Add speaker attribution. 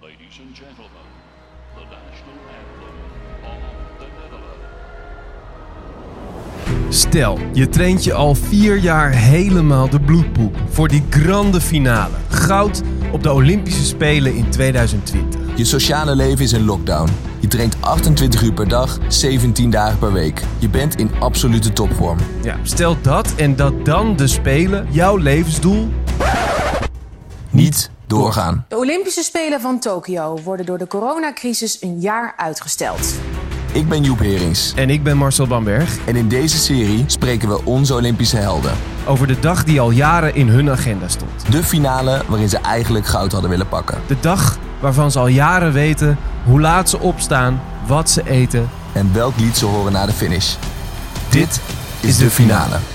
Speaker 1: Ladies and gentlemen, the national anthem of the Netherlands.
Speaker 2: Stel, je traint je al vier jaar helemaal de bloedpoep voor die grande finale. Goud op de Olympische Spelen in 2020.
Speaker 3: Je sociale leven is in lockdown. Je traint 28 uur per dag, 17 dagen per week. Je bent in absolute topvorm.
Speaker 2: Ja, stel dat en dat dan de Spelen jouw levensdoel
Speaker 3: Niet doorgaan.
Speaker 4: De Olympische Spelen van Tokio worden door de coronacrisis een jaar uitgesteld.
Speaker 3: Ik ben Joep Herings.
Speaker 2: en ik ben Marcel Bamberg
Speaker 3: En in deze serie spreken we onze Olympische helden.
Speaker 2: over de dag die al jaren in hun agenda stond.
Speaker 3: De finale waarin ze eigenlijk goud hadden willen pakken.
Speaker 2: De dag waarvan ze al jaren weten hoe laat ze opstaan, wat ze eten.
Speaker 3: En welk lied ze horen na de finish. Dit is
Speaker 2: is
Speaker 3: de
Speaker 2: de
Speaker 3: finale.